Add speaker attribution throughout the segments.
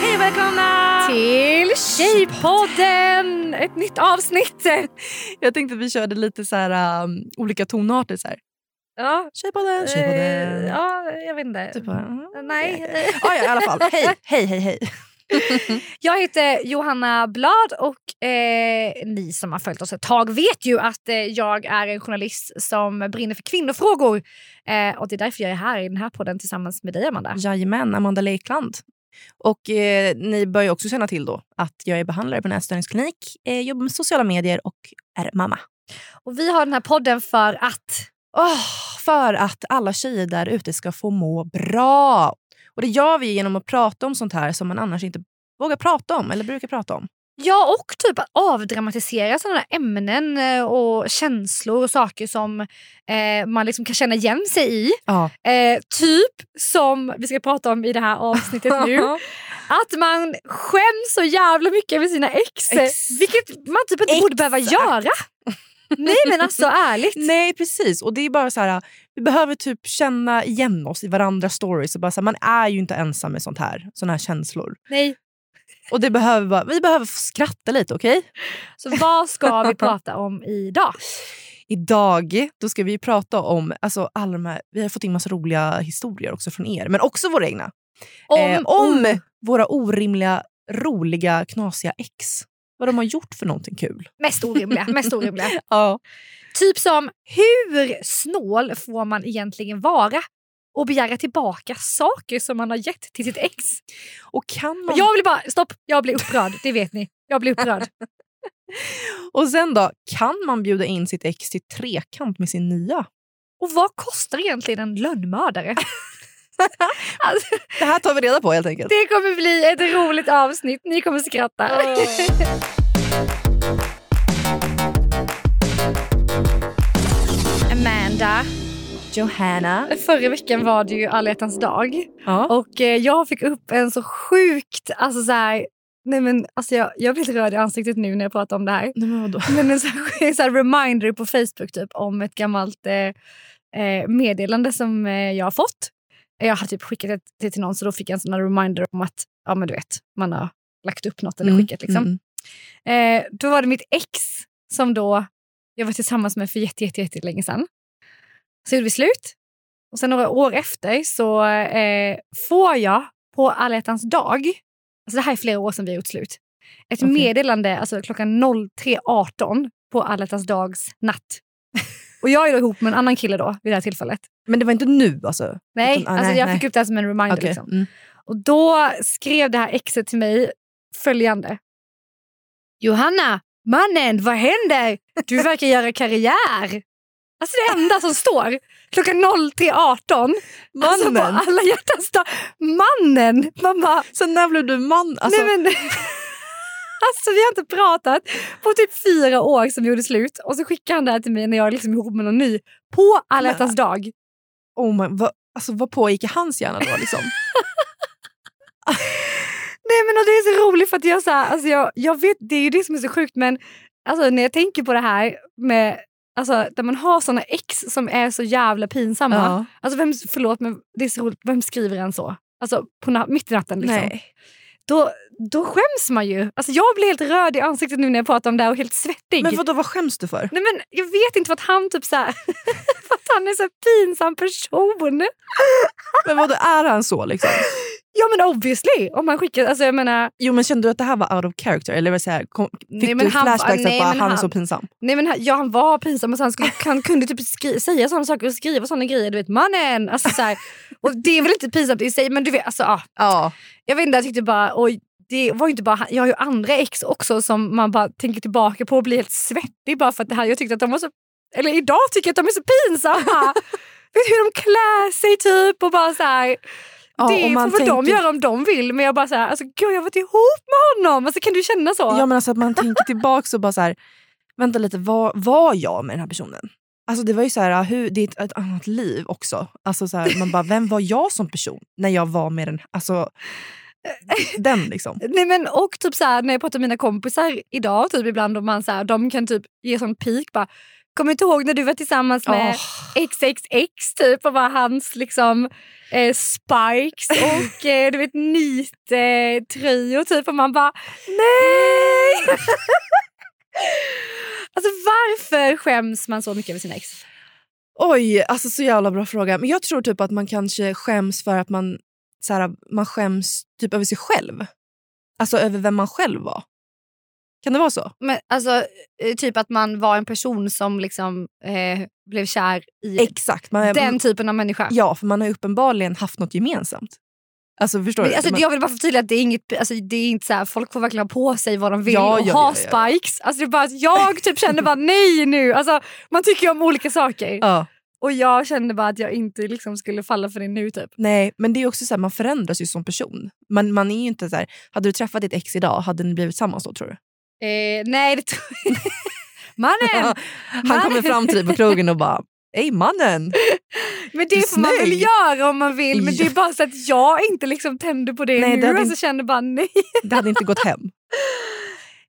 Speaker 1: Hej och välkomna till Tjejpodden! Ett nytt avsnitt.
Speaker 2: Jag tänkte att vi körde lite så här, um, olika tonarter. Så här.
Speaker 1: Ja,
Speaker 2: Tjejpodden, tjejpodden.
Speaker 1: eh, ja jag vet inte.
Speaker 2: Typ, uh,
Speaker 1: Nej.
Speaker 2: ja, ja, i alla fall. Hej, hej, hej. hej.
Speaker 1: Jag heter Johanna Blad och eh, ni som har följt oss ett tag vet ju att eh, jag är en journalist som brinner för kvinnofrågor. Eh, och det är därför jag är här i den här podden tillsammans med dig Amanda.
Speaker 2: Jajamän, Amanda Lekland. Och eh, ni bör ju också känna till då att jag är behandlare på en ätstörningsklinik, eh, jobbar med sociala medier och är mamma.
Speaker 1: Och vi har den här podden för att
Speaker 2: Åh, för att alla tjejer där ute ska få må bra. Och det gör vi genom att prata om sånt här som man annars inte vågar prata om eller brukar prata om.
Speaker 1: Ja, och typ att avdramatisera sådana där ämnen eh, och känslor och saker som eh, man liksom kan känna igen sig i.
Speaker 2: Ja.
Speaker 1: Eh, typ som vi ska prata om i det här avsnittet nu. Att man skäms så jävla mycket över sina ex. eh,
Speaker 2: Ex-
Speaker 1: Vilket man typ inte borde behöva
Speaker 2: Exakt.
Speaker 1: göra. Nej men alltså ärligt.
Speaker 2: Nej, precis. Och det är bara så här, Vi behöver typ känna igen oss i varandras stories. Och bara så här, man är ju inte ensam med sånt här, såna här känslor.
Speaker 1: Nej.
Speaker 2: Och det behöver bara, Vi behöver få skratta lite, okej?
Speaker 1: Så vad ska vi prata om idag?
Speaker 2: Idag då ska vi prata om... Alltså, alla de här, vi har fått in massa roliga historier också från er, men också våra egna.
Speaker 1: Om,
Speaker 2: eh, om våra orimliga, roliga, knasiga ex. Vad de har gjort för någonting kul.
Speaker 1: Mest orimliga. Mest orimliga.
Speaker 2: Ja.
Speaker 1: Typ som, hur snål får man egentligen vara och begära tillbaka saker som man har gett till sitt ex?
Speaker 2: Och kan man
Speaker 1: Jag vill bara, stopp, jag blir upprörd, det vet ni. Jag blir upprörd.
Speaker 2: Och sen då, kan man bjuda in sitt ex till trekant med sin nya?
Speaker 1: Och vad kostar egentligen en lönnmördare? alltså,
Speaker 2: Det här tar vi reda på helt enkelt.
Speaker 1: det kommer bli ett roligt avsnitt, ni kommer skratta. Amanda,
Speaker 2: Johanna.
Speaker 1: förra veckan var det ju alla hjärtans dag.
Speaker 2: Ja.
Speaker 1: Och eh, jag fick upp en så sjukt, alltså så här, nej men alltså jag, jag blir lite röd i ansiktet nu när jag pratar om det här.
Speaker 2: Nej, men vadå?
Speaker 1: Men en så här, så här reminder på Facebook typ om ett gammalt eh, eh, meddelande som eh, jag har fått. Jag hade typ skickat det till- till någon så då fick jag en sån här reminder om att ja men du vet, man har lagt upp något eller skickat liksom.
Speaker 2: Mm.
Speaker 1: Eh, då var det mitt ex som då jag var tillsammans med för jätte, jätte, jätte länge sedan. Så gjorde vi slut. Och sen några år efter så eh, får jag på alla hjärtans dag, alltså det här är flera år sedan vi har gjort slut, ett
Speaker 2: Okej.
Speaker 1: meddelande alltså klockan 03.18 på alla hjärtans dags natt. Och jag är då ihop med en annan kille då vid det här tillfället.
Speaker 2: Men det var inte nu alltså?
Speaker 1: Nej,
Speaker 2: Utan- ah,
Speaker 1: alltså
Speaker 2: nej,
Speaker 1: jag
Speaker 2: nej.
Speaker 1: fick upp det här som en reminder.
Speaker 2: Okej.
Speaker 1: Liksom.
Speaker 2: Mm.
Speaker 1: Och då skrev det här exet till mig följande. Johanna, mannen, vad händer? Du verkar göra karriär. Alltså det enda som står klockan 03.18. Alltså på
Speaker 2: Mannen.
Speaker 1: alla hjärtans dag. Mannen! Man bara,
Speaker 2: Sen när blev du man? Alltså,
Speaker 1: nej men. Alltså vi har inte pratat på typ fyra år som vi gjorde slut. Och så skickar han det här till mig när jag är liksom ihop med någon ny. På alla hjärtans dag.
Speaker 2: oh my, vad, alltså, vad pågick i hans hjärna då? Liksom?
Speaker 1: Nej men och det är så roligt för att jag så här, alltså jag, jag vet, det är ju det som är så sjukt men alltså när jag tänker på det här med Alltså där man har såna ex som är så jävla pinsamma.
Speaker 2: Ja.
Speaker 1: Alltså vem, förlåt men det är så roligt, vem skriver en så? Alltså på na- mitt i natten liksom.
Speaker 2: Nej.
Speaker 1: Då, då skäms man ju. Alltså jag blir helt röd i ansiktet nu när jag pratar om det här och helt svettig.
Speaker 2: Men vadå, vad skäms du för?
Speaker 1: Nej men jag vet inte för att han typ så här, för att han är så här pinsam person.
Speaker 2: Men vadå, är han så? Liksom?
Speaker 1: Ja men obviously! Om man skickar, alltså jag menar
Speaker 2: Jo, men Kände du att det här var out of character? Eller var det så här, kom, fick
Speaker 1: Nej, men
Speaker 2: du
Speaker 1: han-
Speaker 2: flashbacks
Speaker 1: nej,
Speaker 2: att bara,
Speaker 1: men
Speaker 2: han, är
Speaker 1: han-
Speaker 2: så pinsam?
Speaker 1: Nej men han, ja, han var pinsam och så han, skulle, han kunde typ skri- säga sådana saker och skriva sådana grejer. Du vet mannen! Alltså, så här. Och det är väl inte pinsamt i sig men du vet, alltså, ah,
Speaker 2: Ja.
Speaker 1: jag vet inte, jag tyckte bara oj, det var ju inte bara han. Jag har ju andra ex också som man bara tänker tillbaka på och blir helt svettig bara för att det här. Jag tyckte att de var så, eller idag tycker jag att de är så pinsamma. Vet du hur de klär sig typ och bara så här.
Speaker 2: Ja,
Speaker 1: det
Speaker 2: och
Speaker 1: får
Speaker 2: man
Speaker 1: väl de
Speaker 2: tänker-
Speaker 1: göra om de vill men jag bara så här, alltså gud jag har varit ihop med honom. Alltså kan du känna så?
Speaker 2: Ja, men alltså att man tänker tillbaka och bara så här, vänta lite, vad var jag med den här personen? Alltså det var ju så här, hur, det är ett, ett annat liv också. Alltså så här, man bara, vem var jag som person när jag var med den, alltså den liksom.
Speaker 1: Nej, men, och typ så här, när jag pratar med mina kompisar idag, typ ibland, och man, så här, de kan typ ge sån peak. Bara, Kommer inte ihåg när du var tillsammans med
Speaker 2: Åh.
Speaker 1: XXX typ, och var hans liksom, eh, spikes och eh, du vet nit-tröjor. typ, och man bara nej! alltså varför skäms man så mycket över sina ex?
Speaker 2: Oj, alltså så jävla bra fråga. Men jag tror typ att man kanske skäms för att man, så här, man skäms typ över sig själv. Alltså över vem man själv var. Kan det vara så?
Speaker 1: Men, alltså, eh, typ att man var en person som liksom, eh, blev kär i
Speaker 2: Exakt. Man,
Speaker 1: den typen av människa.
Speaker 2: Ja, för man har ju uppenbarligen haft något gemensamt. Alltså förstår
Speaker 1: Men,
Speaker 2: du?
Speaker 1: alltså,
Speaker 2: Man-
Speaker 1: Jag vill bara förtydliga att det är inget, alltså, det är inte så här, folk får verkligen ha på sig vad de vill
Speaker 2: Ja,
Speaker 1: och
Speaker 2: ja,
Speaker 1: ha
Speaker 2: ja, ja, ja.
Speaker 1: spikes. Alltså, det är bara att jag typ kände bara nej nu. Alltså, man tycker ju om olika saker.
Speaker 2: ja.
Speaker 1: Och jag kände bara att jag inte liksom, skulle falla för det nu. typ.
Speaker 2: Nej, men det är också så här, man förändras ju som person. Man, man är ju inte så här, hade du träffat ditt ex idag, hade ni blivit tillsammans då tror du?
Speaker 1: Eh, nej, det tror jag Mannen!
Speaker 2: Han kommer fram till dig på krogen och bara, ej mannen!
Speaker 1: Men
Speaker 2: Du är
Speaker 1: det får man väl
Speaker 2: snygg.
Speaker 1: göra om man vill. Men det är bara så att jag inte liksom tände på det
Speaker 2: Nej, det
Speaker 1: nu.
Speaker 2: hade
Speaker 1: Alltså,
Speaker 2: inte-
Speaker 1: kände bara nej.
Speaker 2: Det hade inte gått hem.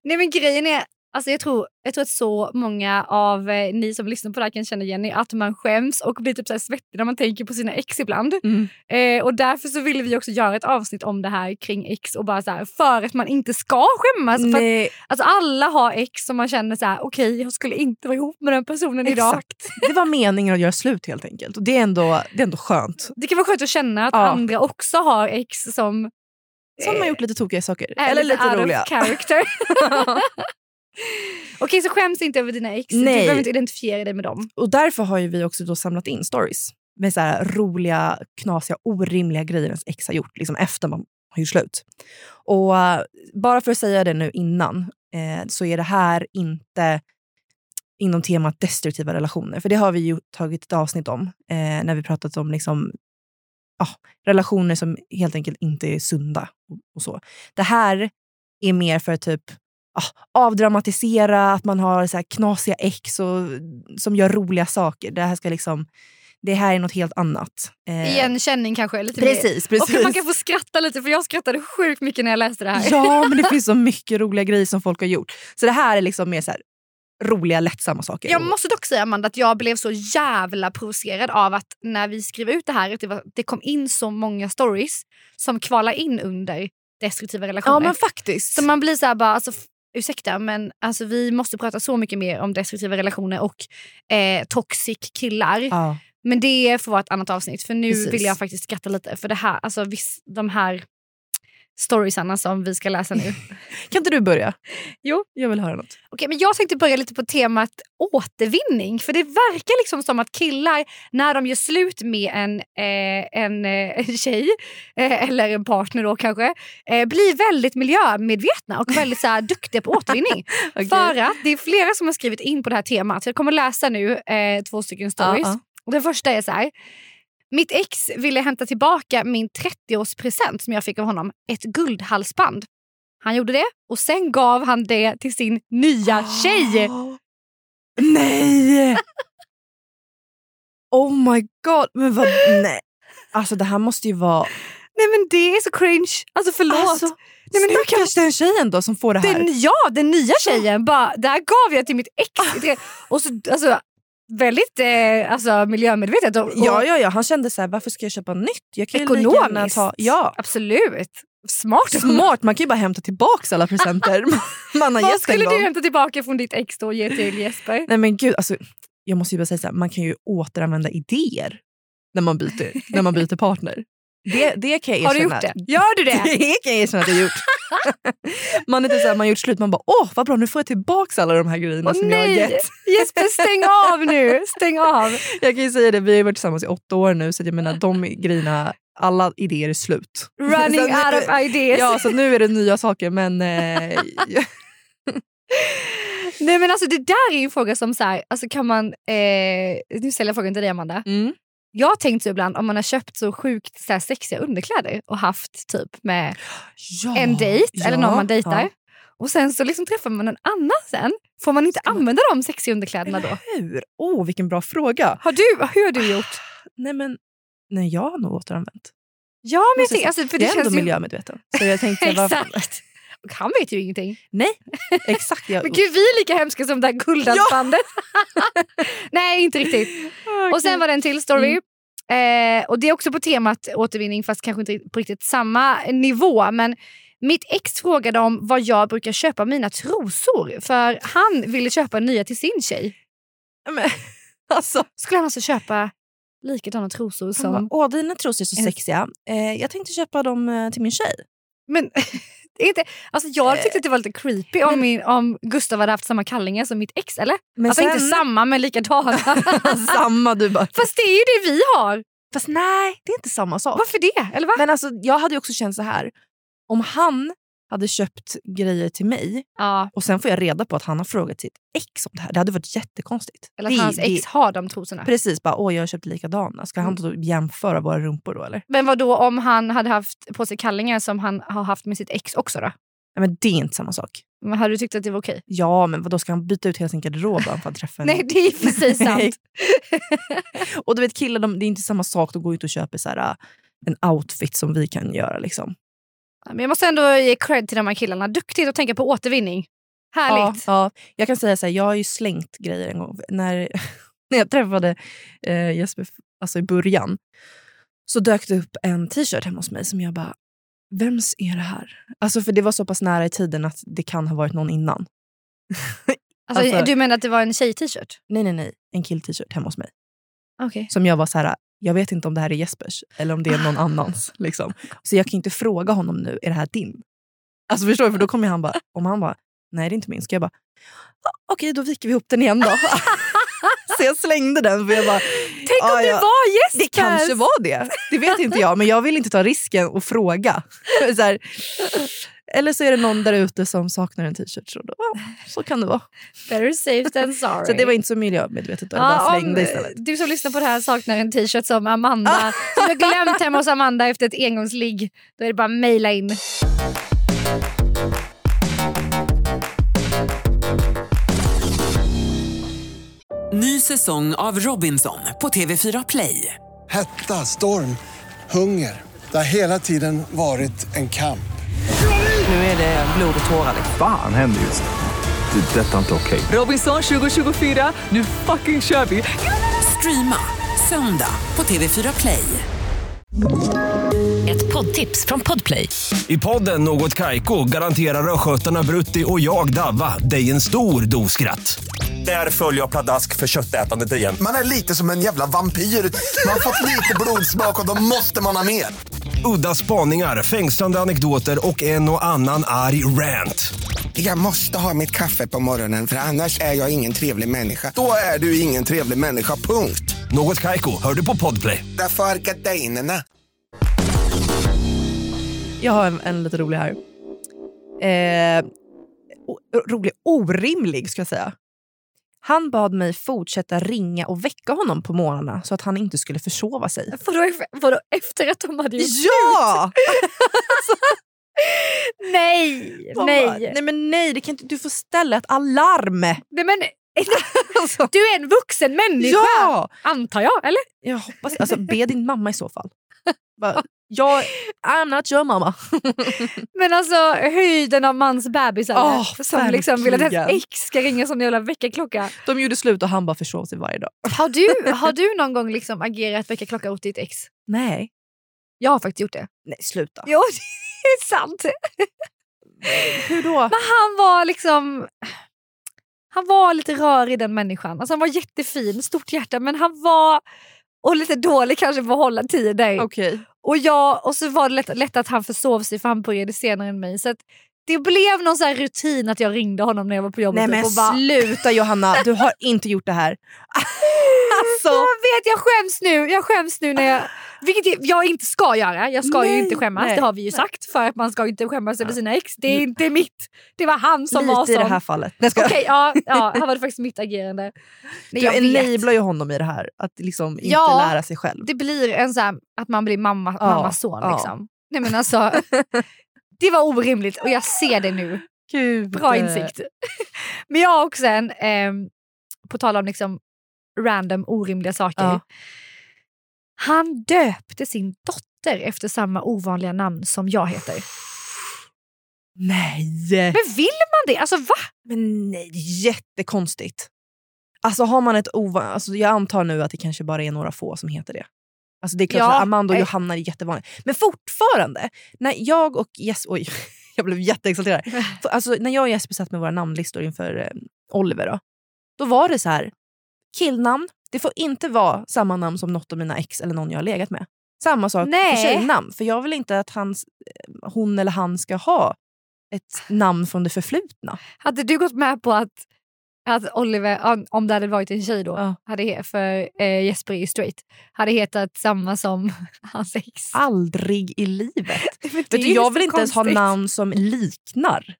Speaker 1: Nej men grejen är, alltså jag, tror, jag tror att så många av eh, ni som lyssnar på det här kan känna igen er, att man skäms och blir typ så här svettig när man tänker på sina ex ibland.
Speaker 2: Mm.
Speaker 1: Eh, och därför så ville vi också göra ett avsnitt om det här kring ex och bara så här, för att man inte ska skämmas. För att,
Speaker 2: Nej,
Speaker 1: alltså alla har ex som man känner så här, okej jag skulle inte vara ihop med den personen idag.
Speaker 2: exakt. Det var meningen att göra slut helt enkelt. Och det är ändå, det är ändå skönt.
Speaker 1: Det kan vara skönt att känna att
Speaker 2: Ja.
Speaker 1: andra också har ex som
Speaker 2: Så har man gjort lite tokiga saker.
Speaker 1: är
Speaker 2: Eller lite
Speaker 1: out
Speaker 2: roliga.
Speaker 1: of character. Okej, så skäms inte över dina ex. Du
Speaker 2: Nej.
Speaker 1: behöver inte identifiera dig med dem.
Speaker 2: Och därför har ju vi också då samlat in stories med så här roliga, knasiga, orimliga grejer ens ex har gjort liksom efter man har gjort slut. Och eh, bara för att säga det nu innan eh, så är det här inte inom temat destruktiva relationer. För det har vi ju tagit ett avsnitt om eh, när vi pratat om liksom, ja, relationer som helt enkelt inte är sunda. Och, och så. Det här är mer för typ ah, avdramatisera att man har så här knasiga ex och, som gör roliga saker. Det här, ska liksom, det här är något helt annat. Eh,
Speaker 1: Igenkänning kanske. Lite mer.
Speaker 2: Precis, precis.
Speaker 1: Och man kan få skratta lite för jag skrattade sjukt mycket när jag läste det här.
Speaker 2: Ja, men det finns så mycket roliga grejer som folk har gjort. Så det här är liksom mer så här, roliga, lättsamma saker.
Speaker 1: Jag måste dock säga Amanda att jag blev så jävla provocerad av att när vi skrev ut det här att det, var, det kom in så många stories som kvalar in under destruktiva relationer.
Speaker 2: ja, men faktiskt.
Speaker 1: så man blir så här bara, alltså, f- ursäkta men alltså, vi måste prata så mycket mer om destruktiva relationer och eh, toxic killar.
Speaker 2: ja.
Speaker 1: Men det får vara ett annat avsnitt för nu
Speaker 2: Precis.
Speaker 1: vill jag faktiskt skratta lite för det här, alltså, viss, de här storiesarna som vi ska läsa nu.
Speaker 2: Kan inte du börja?
Speaker 1: Jo.
Speaker 2: Jag vill höra något.
Speaker 1: Okej, men jag tänkte börja lite på temat återvinning. För det verkar liksom som att killar, när de gör slut med en, eh, en, eh, en tjej, eh, eller en partner då kanske, eh, blir väldigt miljömedvetna och väldigt så här, duktiga på återvinning. För att det är flera som har skrivit in på det här temat. Så Jag kommer läsa nu eh, två stycken stories.
Speaker 2: Ja, ja.
Speaker 1: Och Den första är så här. Mitt ex ville hämta tillbaka min 30-årspresent som jag fick av honom. Ett guldhalsband. Han gjorde det och sen gav han det till sin nya
Speaker 2: Ah.
Speaker 1: tjej.
Speaker 2: Nej! Oh my god, men vad... Nej. Alltså det här måste ju vara...
Speaker 1: Nej men det är så cringe. Alltså förlåt.
Speaker 2: Alltså,
Speaker 1: Nej, men hur kan-
Speaker 2: stackars den tjejen då som får det här.
Speaker 1: den, ja, den nya tjejen bara, det här gav jag till mitt
Speaker 2: Ah.
Speaker 1: ex. och så, alltså, väldigt eh, alltså, miljömedvetet. Och, och,
Speaker 2: Ja, ja, ja. Han kände så här, varför ska jag köpa nytt? Jag kan ju lika gärna
Speaker 1: Ekonomiskt.
Speaker 2: ta... Ja.
Speaker 1: Absolut. Smart.
Speaker 2: Smart, man kan ju bara hämta tillbaka alla presenter man har
Speaker 1: Vad
Speaker 2: gett en
Speaker 1: skulle du
Speaker 2: gång.
Speaker 1: hämta tillbaka från ditt ex då och ge till Jesper?
Speaker 2: Nej men gud, alltså, jag måste ju bara säga så här, man kan ju återanvända idéer när man byter, när man byter partner. Det, det kan jag erkänna.
Speaker 1: Har du gjort det? Gör du det?
Speaker 2: Det kan jag erkänna att jag gjort. man är inte så här, man har gjort slut, man bara åh vad bra nu får jag tillbaka alla de här grejerna
Speaker 1: Åh
Speaker 2: som jag har
Speaker 1: nej!
Speaker 2: gett.
Speaker 1: Jesper stäng av nu! Stäng av.
Speaker 2: Jag kan ju säga det, vi har ju varit tillsammans i åtta år nu så att jag menar de grejerna alla idéer är slut.
Speaker 1: Running
Speaker 2: Så att nu-
Speaker 1: out of ideas.
Speaker 2: Ja, så nu är det nya saker men... Eh,
Speaker 1: Nej men alltså det där är ju en fråga som så här, alltså kan man, eh, nu ställer jag frågan till dig Amanda.
Speaker 2: mm.
Speaker 1: Jag har tänkt så ibland om man har köpt så sjukt så här, sexiga underkläder och haft typ med
Speaker 2: ja,
Speaker 1: en dejt eller någon man dejtar.
Speaker 2: ja.
Speaker 1: Och sen så liksom träffar man en annan sen. Får man inte använda de sexiga underkläderna då? Ah,
Speaker 2: Hur? Åh, oh, vilken bra fråga.
Speaker 1: Har du, hur har du gjort?
Speaker 2: Nej men, nej jag har nog återanvänt.
Speaker 1: Ja men jag
Speaker 2: Måste
Speaker 1: tänker,
Speaker 2: säga,
Speaker 1: alltså, för
Speaker 2: jag
Speaker 1: det
Speaker 2: är ändå
Speaker 1: känns ju...
Speaker 2: miljömedveten. Så jag tänkte, varför-
Speaker 1: Exakt! Och han vet ju ingenting.
Speaker 2: Exakt. Jag,
Speaker 1: Men gud vi är lika hemska som det här guldhalsbandet. Nej inte riktigt. Och sen var det en till
Speaker 2: Mm,
Speaker 1: story. Eh, och Det är också på temat återvinning fast kanske inte på riktigt samma nivå. Men mitt ex frågade om vad jag brukar köpa mina trosor för han ville köpa nya till sin tjej.
Speaker 2: Men, alltså,
Speaker 1: Skulle han alltså köpa likadana trosor
Speaker 2: han bara,
Speaker 1: som...
Speaker 2: Åh, dina trosor är så
Speaker 1: En-
Speaker 2: sexiga. Eh, jag tänkte köpa dem eh, till min tjej.
Speaker 1: Men, det är inte, alltså jag tyckte att det var lite creepy om,
Speaker 2: Eh, Men-
Speaker 1: min, om Gustav hade haft samma kallingar som mitt ex. eller?
Speaker 2: Men
Speaker 1: alltså inte samma men likadana.
Speaker 2: samma, du bara.
Speaker 1: Fast det är ju det vi har.
Speaker 2: Fast nej, det är inte samma sak.
Speaker 1: Varför det? Eller va?
Speaker 2: Men alltså, jag hade ju också känt så här. Om han hade köpt grejer till mig
Speaker 1: Ja,
Speaker 2: och sen får jag reda på att han har frågat sitt ex om det här. Det hade varit jättekonstigt.
Speaker 1: eller
Speaker 2: Det-
Speaker 1: att hans
Speaker 2: det-
Speaker 1: ex har Mm. de trosorna.
Speaker 2: Precis, bara åh jag har köpt likadana. Ska han då jämföra våra rumpor då eller?
Speaker 1: Men vad då om han hade haft på sig kallingar som han har haft med sitt ex också då?
Speaker 2: Nej men det är inte samma sak.
Speaker 1: Men hade du tyckt att det var okej?
Speaker 2: Ja men då ska han byta ut hela sin garderob bara för att träffa en
Speaker 1: Nej, det är precis sant.
Speaker 2: Och du vet killar, de, det är inte samma sak. De går ju inte och köper så här, äh, en outfit som vi kan göra. Liksom.
Speaker 1: Men jag måste ändå ge cred till de här killarna. Duktigt att tänka på återvinning.
Speaker 2: Ja,
Speaker 1: Härligt.
Speaker 2: ja. Jag kan säga så här, jag har ju slängt grejer en gång. När, när jag träffade eh, Jesper alltså i början så dök det upp en t-shirt hemma hos mig som jag bara, vems är det här? Alltså för det var så pass nära i tiden att det kan ha varit någon innan.
Speaker 1: alltså,
Speaker 2: alltså-
Speaker 1: du menar att det var en tjej-t-shirt?
Speaker 2: Nej, nej, nej. En kill-t-shirt hemma hos mig.
Speaker 1: Okej.
Speaker 2: Som jag var så här, jag vet inte om det här är Jespers eller om det är
Speaker 1: Ah.
Speaker 2: någon annans.
Speaker 1: Oh
Speaker 2: Liksom. Så jag kan inte fråga honom nu, är det här din? Alltså förstår du? För då kommer han bara, om han bara, nej det är inte min. Ska jag bara, "Ja, okej då viker vi ihop den igen då. så jag slängde den för jag bara,
Speaker 1: Tänk om
Speaker 2: Ja,
Speaker 1: Ah, det
Speaker 2: ja.
Speaker 1: var Jespers!
Speaker 2: det kanske var det. Det vet inte jag, men jag vill inte ta risken och fråga. så här, eller så är det någon där ute som saknar en t-shirt. Så, då, ja, så kan det vara.
Speaker 1: Better safe than sorry.
Speaker 2: Så det var inte så miljömedvetet, då. jag
Speaker 1: Ja,
Speaker 2: bara
Speaker 1: Ah, om
Speaker 2: slängde istället.
Speaker 1: du som lyssnar på det här saknar en t-shirt som Amanda som jag glömt hemma hos Amanda efter ett engångsligg, då är det bara att mejla in.
Speaker 3: Ny säsong av Robinson på TV4 Play.
Speaker 4: Hetta, storm, hunger. Det har hela tiden varit en kamp.
Speaker 5: Nu är det blod och tårar.
Speaker 6: Fan händer just det. Det är detta inte okej.
Speaker 3: Robinson 2024, nu fucking kör vi! Streama söndag på TV4 Play.
Speaker 7: Ett poddtips från Podplay.
Speaker 8: I podden Något Kaiko garanterar östgötarna Brutti och jag, Davva, dig en stor dos skratt. Där följer jag pladask för köttätandet igen.
Speaker 9: Man är lite som en jävla vampyr. Man har fått lite blodsmak och då måste man ha mer.
Speaker 8: Udda spaningar, fängslande anekdoter och en och annan arg rant.
Speaker 9: Jag måste ha mitt kaffe på morgonen för annars är jag ingen trevlig människa. Då är du ingen trevlig människa, punkt.
Speaker 8: Något Kaiko, hör du på Podplay.
Speaker 9: Därför är gardinerna.
Speaker 2: Jag har en, en lite rolig här. Eh, o- rolig, orimlig ska jag säga. Han bad mig fortsätta ringa och väcka honom på morgnarna så att han inte skulle försova sig.
Speaker 1: Vadå, vadå efter att de hade gjort
Speaker 2: Ja!
Speaker 1: Nej!
Speaker 2: Man bara,
Speaker 1: Nej.
Speaker 2: nej, men nej det kan inte, du får ställa ett alarm!
Speaker 1: Nej, men,
Speaker 2: Alltså,
Speaker 1: du är en vuxen människa,
Speaker 2: ja!
Speaker 1: antar jag. Eller?
Speaker 2: Jag hoppas, alltså, be din mamma i så fall. Bara, jag, I'm not your mamma.
Speaker 1: Men alltså höjden av mans bebisar
Speaker 2: Åh,
Speaker 1: som liksom vill att
Speaker 2: verkligen.
Speaker 1: ens ex ska ringa som en jävla väckarklocka.
Speaker 2: De gjorde slut och han bara försov sig varje dag.
Speaker 1: Har du, har du någon gång liksom agerat väckarklocka åt ditt ex?
Speaker 2: Nej,
Speaker 1: Jag har faktiskt gjort det.
Speaker 2: nej sluta.
Speaker 1: Jo, det är sant.
Speaker 2: Hur då?
Speaker 1: Men han var liksom... Han var lite rörig den människan. Alltså han var jättefin, stort hjärta, men han var... Och lite dålig kanske på att hålla tider.
Speaker 2: Okej.
Speaker 1: Och, jag, och så var det lätt, lätt att han försov sig för han började senare än mig. Så att Det blev någon så här rutin att jag ringde honom när jag var på jobbet.
Speaker 2: Nej
Speaker 1: typ
Speaker 2: men
Speaker 1: och bara,
Speaker 2: sluta Johanna, du har inte gjort det här.
Speaker 1: Jag
Speaker 2: Alltså,
Speaker 1: vet, jag skäms nu. Jag skäms nu när jag... Vilket jag- jag inte ska göra. Jag ska ju
Speaker 2: Nej,
Speaker 1: inte skämmas,
Speaker 2: nej,
Speaker 1: det har vi ju sagt. För att man ska ju inte skämmas över sina ex. Det är inte mitt. Det var han som var
Speaker 2: lite i
Speaker 1: sån.
Speaker 2: det här fallet. Nej, jag skojar.
Speaker 1: Okej, ja, ja, här var det faktiskt mitt agerande. Nej, jag
Speaker 2: du
Speaker 1: vet.
Speaker 2: enablar ju honom i det här, att liksom inte
Speaker 1: Ja.
Speaker 2: lära sig själv.
Speaker 1: Det blir en så här, att man blir mamma,
Speaker 2: Ja,
Speaker 1: mammas son
Speaker 2: ja.
Speaker 1: liksom. Nej men alltså. Det var orimligt och jag ser det nu.
Speaker 2: Gud. eh,
Speaker 1: Bra insikt. Men jag har också en, ehm, på tal om liksom random orimliga saker.
Speaker 2: Ja.
Speaker 1: Han döpte sin dotter efter samma ovanliga namn som jag heter.
Speaker 2: Nej!
Speaker 1: Men vill man det? Alltså va?
Speaker 2: Men nej, det är jättekonstigt. Alltså har man ett ovan... Alltså, jag antar nu att det kanske bara är några få som heter det. Alltså det är klart,
Speaker 1: Ja,
Speaker 2: så här, Amanda och
Speaker 1: eh.
Speaker 2: Johanna är jättevanligt. Men fortfarande, när jag och Jes... Oj, jag blev jätteexalterad. För- Alltså, när jag och Jesper satt med våra namnlistor inför eh, Oliver, då, då var det så här, killnamn, det får inte vara samma namn som något av mina ex eller någon jag har legat med. Samma sak
Speaker 1: Nej.
Speaker 2: för tjejnamn, för jag vill inte att hans, eh, hon eller han ska ha ett namn från det förflutna.
Speaker 1: Hade du gått med på att, att Oliver, om- om det hade varit en tjej då,
Speaker 2: Ja.
Speaker 1: hade, he- för eh, Jesper är ju straight, hade hetat samma som hans ex?
Speaker 2: Aldrig i livet.
Speaker 1: Vet
Speaker 2: Vet du, Ah, jag vill inte ens ha namn som liknar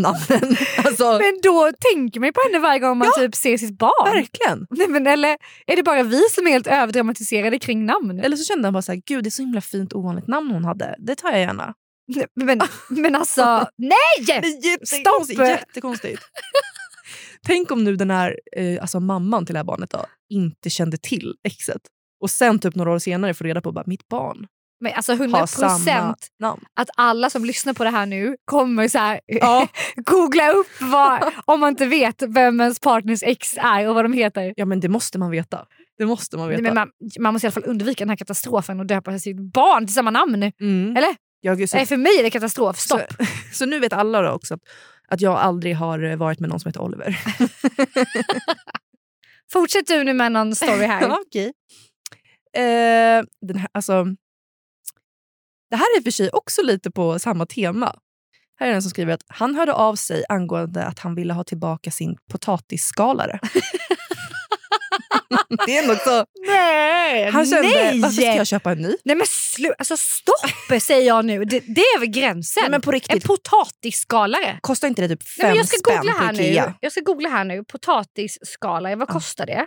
Speaker 2: namnen. Alltså,
Speaker 1: Men då tänker man ju på henne varje gång man typ ser sitt barn.
Speaker 2: verkligen.
Speaker 1: Nej, men eller är det bara vi som är helt överdramatiserade kring namn?
Speaker 2: Eller så kände han bara så här, gud det är så himla fint ovanligt namn hon hade. Det tar jag gärna.
Speaker 1: Nej, Men, men alltså, nej!
Speaker 2: Jättekonstigt. Jättekonstigt. Tänk om nu den här eh, alltså mamman till det här barnet då, inte kände till exet. Och sen typ några år senare får reda på att mitt barn
Speaker 1: Men alltså 100
Speaker 2: har samma
Speaker 1: procent
Speaker 2: namn.
Speaker 1: att alla som lyssnar på det här nu kommer så här, googla upp vad, om man inte vet vem ens partners ex är och vad de heter.
Speaker 2: Ja men det måste man veta. Det måste man veta.
Speaker 1: Nej, men man, man måste i alla fall undvika den här katastrofen och döpa sitt barn till samma namn.
Speaker 2: mm.
Speaker 1: Eller?
Speaker 2: Ja, gud, så
Speaker 1: Nej, för mig är det katastrof. Stopp.
Speaker 2: Så, så nu vet alla då också att, att jag aldrig har eh, varit med någon som heter Oliver.
Speaker 1: Fortsätt du nu med någon story här.
Speaker 2: Ja, okej. Eh, den här, alltså, det här är i och för sig också lite på samma tema. Här är den som skriver att han hörde av sig angående att han ville ha tillbaka sin potatisskalare. det är ändå också...
Speaker 1: nej!
Speaker 2: Han kände,
Speaker 1: nej.
Speaker 2: varför ska jag köpa en ny?
Speaker 1: Nej men sluta, alltså stopp säger jag nu. Det, det är över gränsen.
Speaker 2: Nej, men på riktigt.
Speaker 1: En potatisskalare.
Speaker 2: Kostar inte det typ fem
Speaker 1: Nej, men jag, ska
Speaker 2: spänn
Speaker 1: googla här
Speaker 2: på Ikea?
Speaker 1: nu. jag ska googla här nu. Potatisskalare, vad
Speaker 2: Ja.
Speaker 1: kostar det?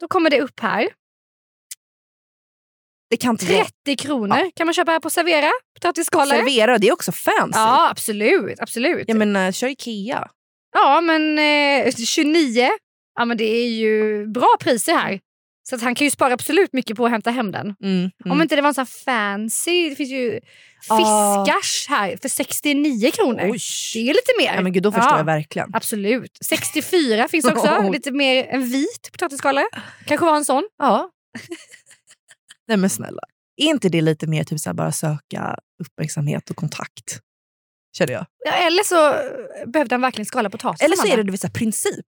Speaker 1: Då kommer det upp här.
Speaker 2: Det kan inte vara...
Speaker 1: 30 kronor kan man köpa här på Servera. Potatisskalare.
Speaker 2: Servera, det är också fancy.
Speaker 1: ja absolut. absolut.
Speaker 2: Jag menar, kör Ikea.
Speaker 1: Ja, men eh, 29. Ja, men det är ju bra priser här. Så att han kan ju spara absolut mycket på att hämta hem den.
Speaker 2: Mm,
Speaker 1: Om inte det var en sån här fancy. Det finns ju
Speaker 2: Ah.
Speaker 1: fiskars här för 69 kronor.
Speaker 2: Oj.
Speaker 1: Det är lite mer.
Speaker 2: Ja, men gud, då förstår
Speaker 1: Ja,
Speaker 2: jag verkligen.
Speaker 1: Absolut. 64 finns också.
Speaker 2: Oh.
Speaker 1: Lite mer en vit potatisskalare. Kanske var en sån.
Speaker 2: Ja. Nej men snälla. Är inte det lite mer typ så här bara söka uppmärksamhet och kontakt? Känner jag.
Speaker 1: Ja, Eller så eh, behövde han verkligen skala potatis.
Speaker 2: Eller så
Speaker 1: Amanda.
Speaker 2: är det du vet, så här, princip.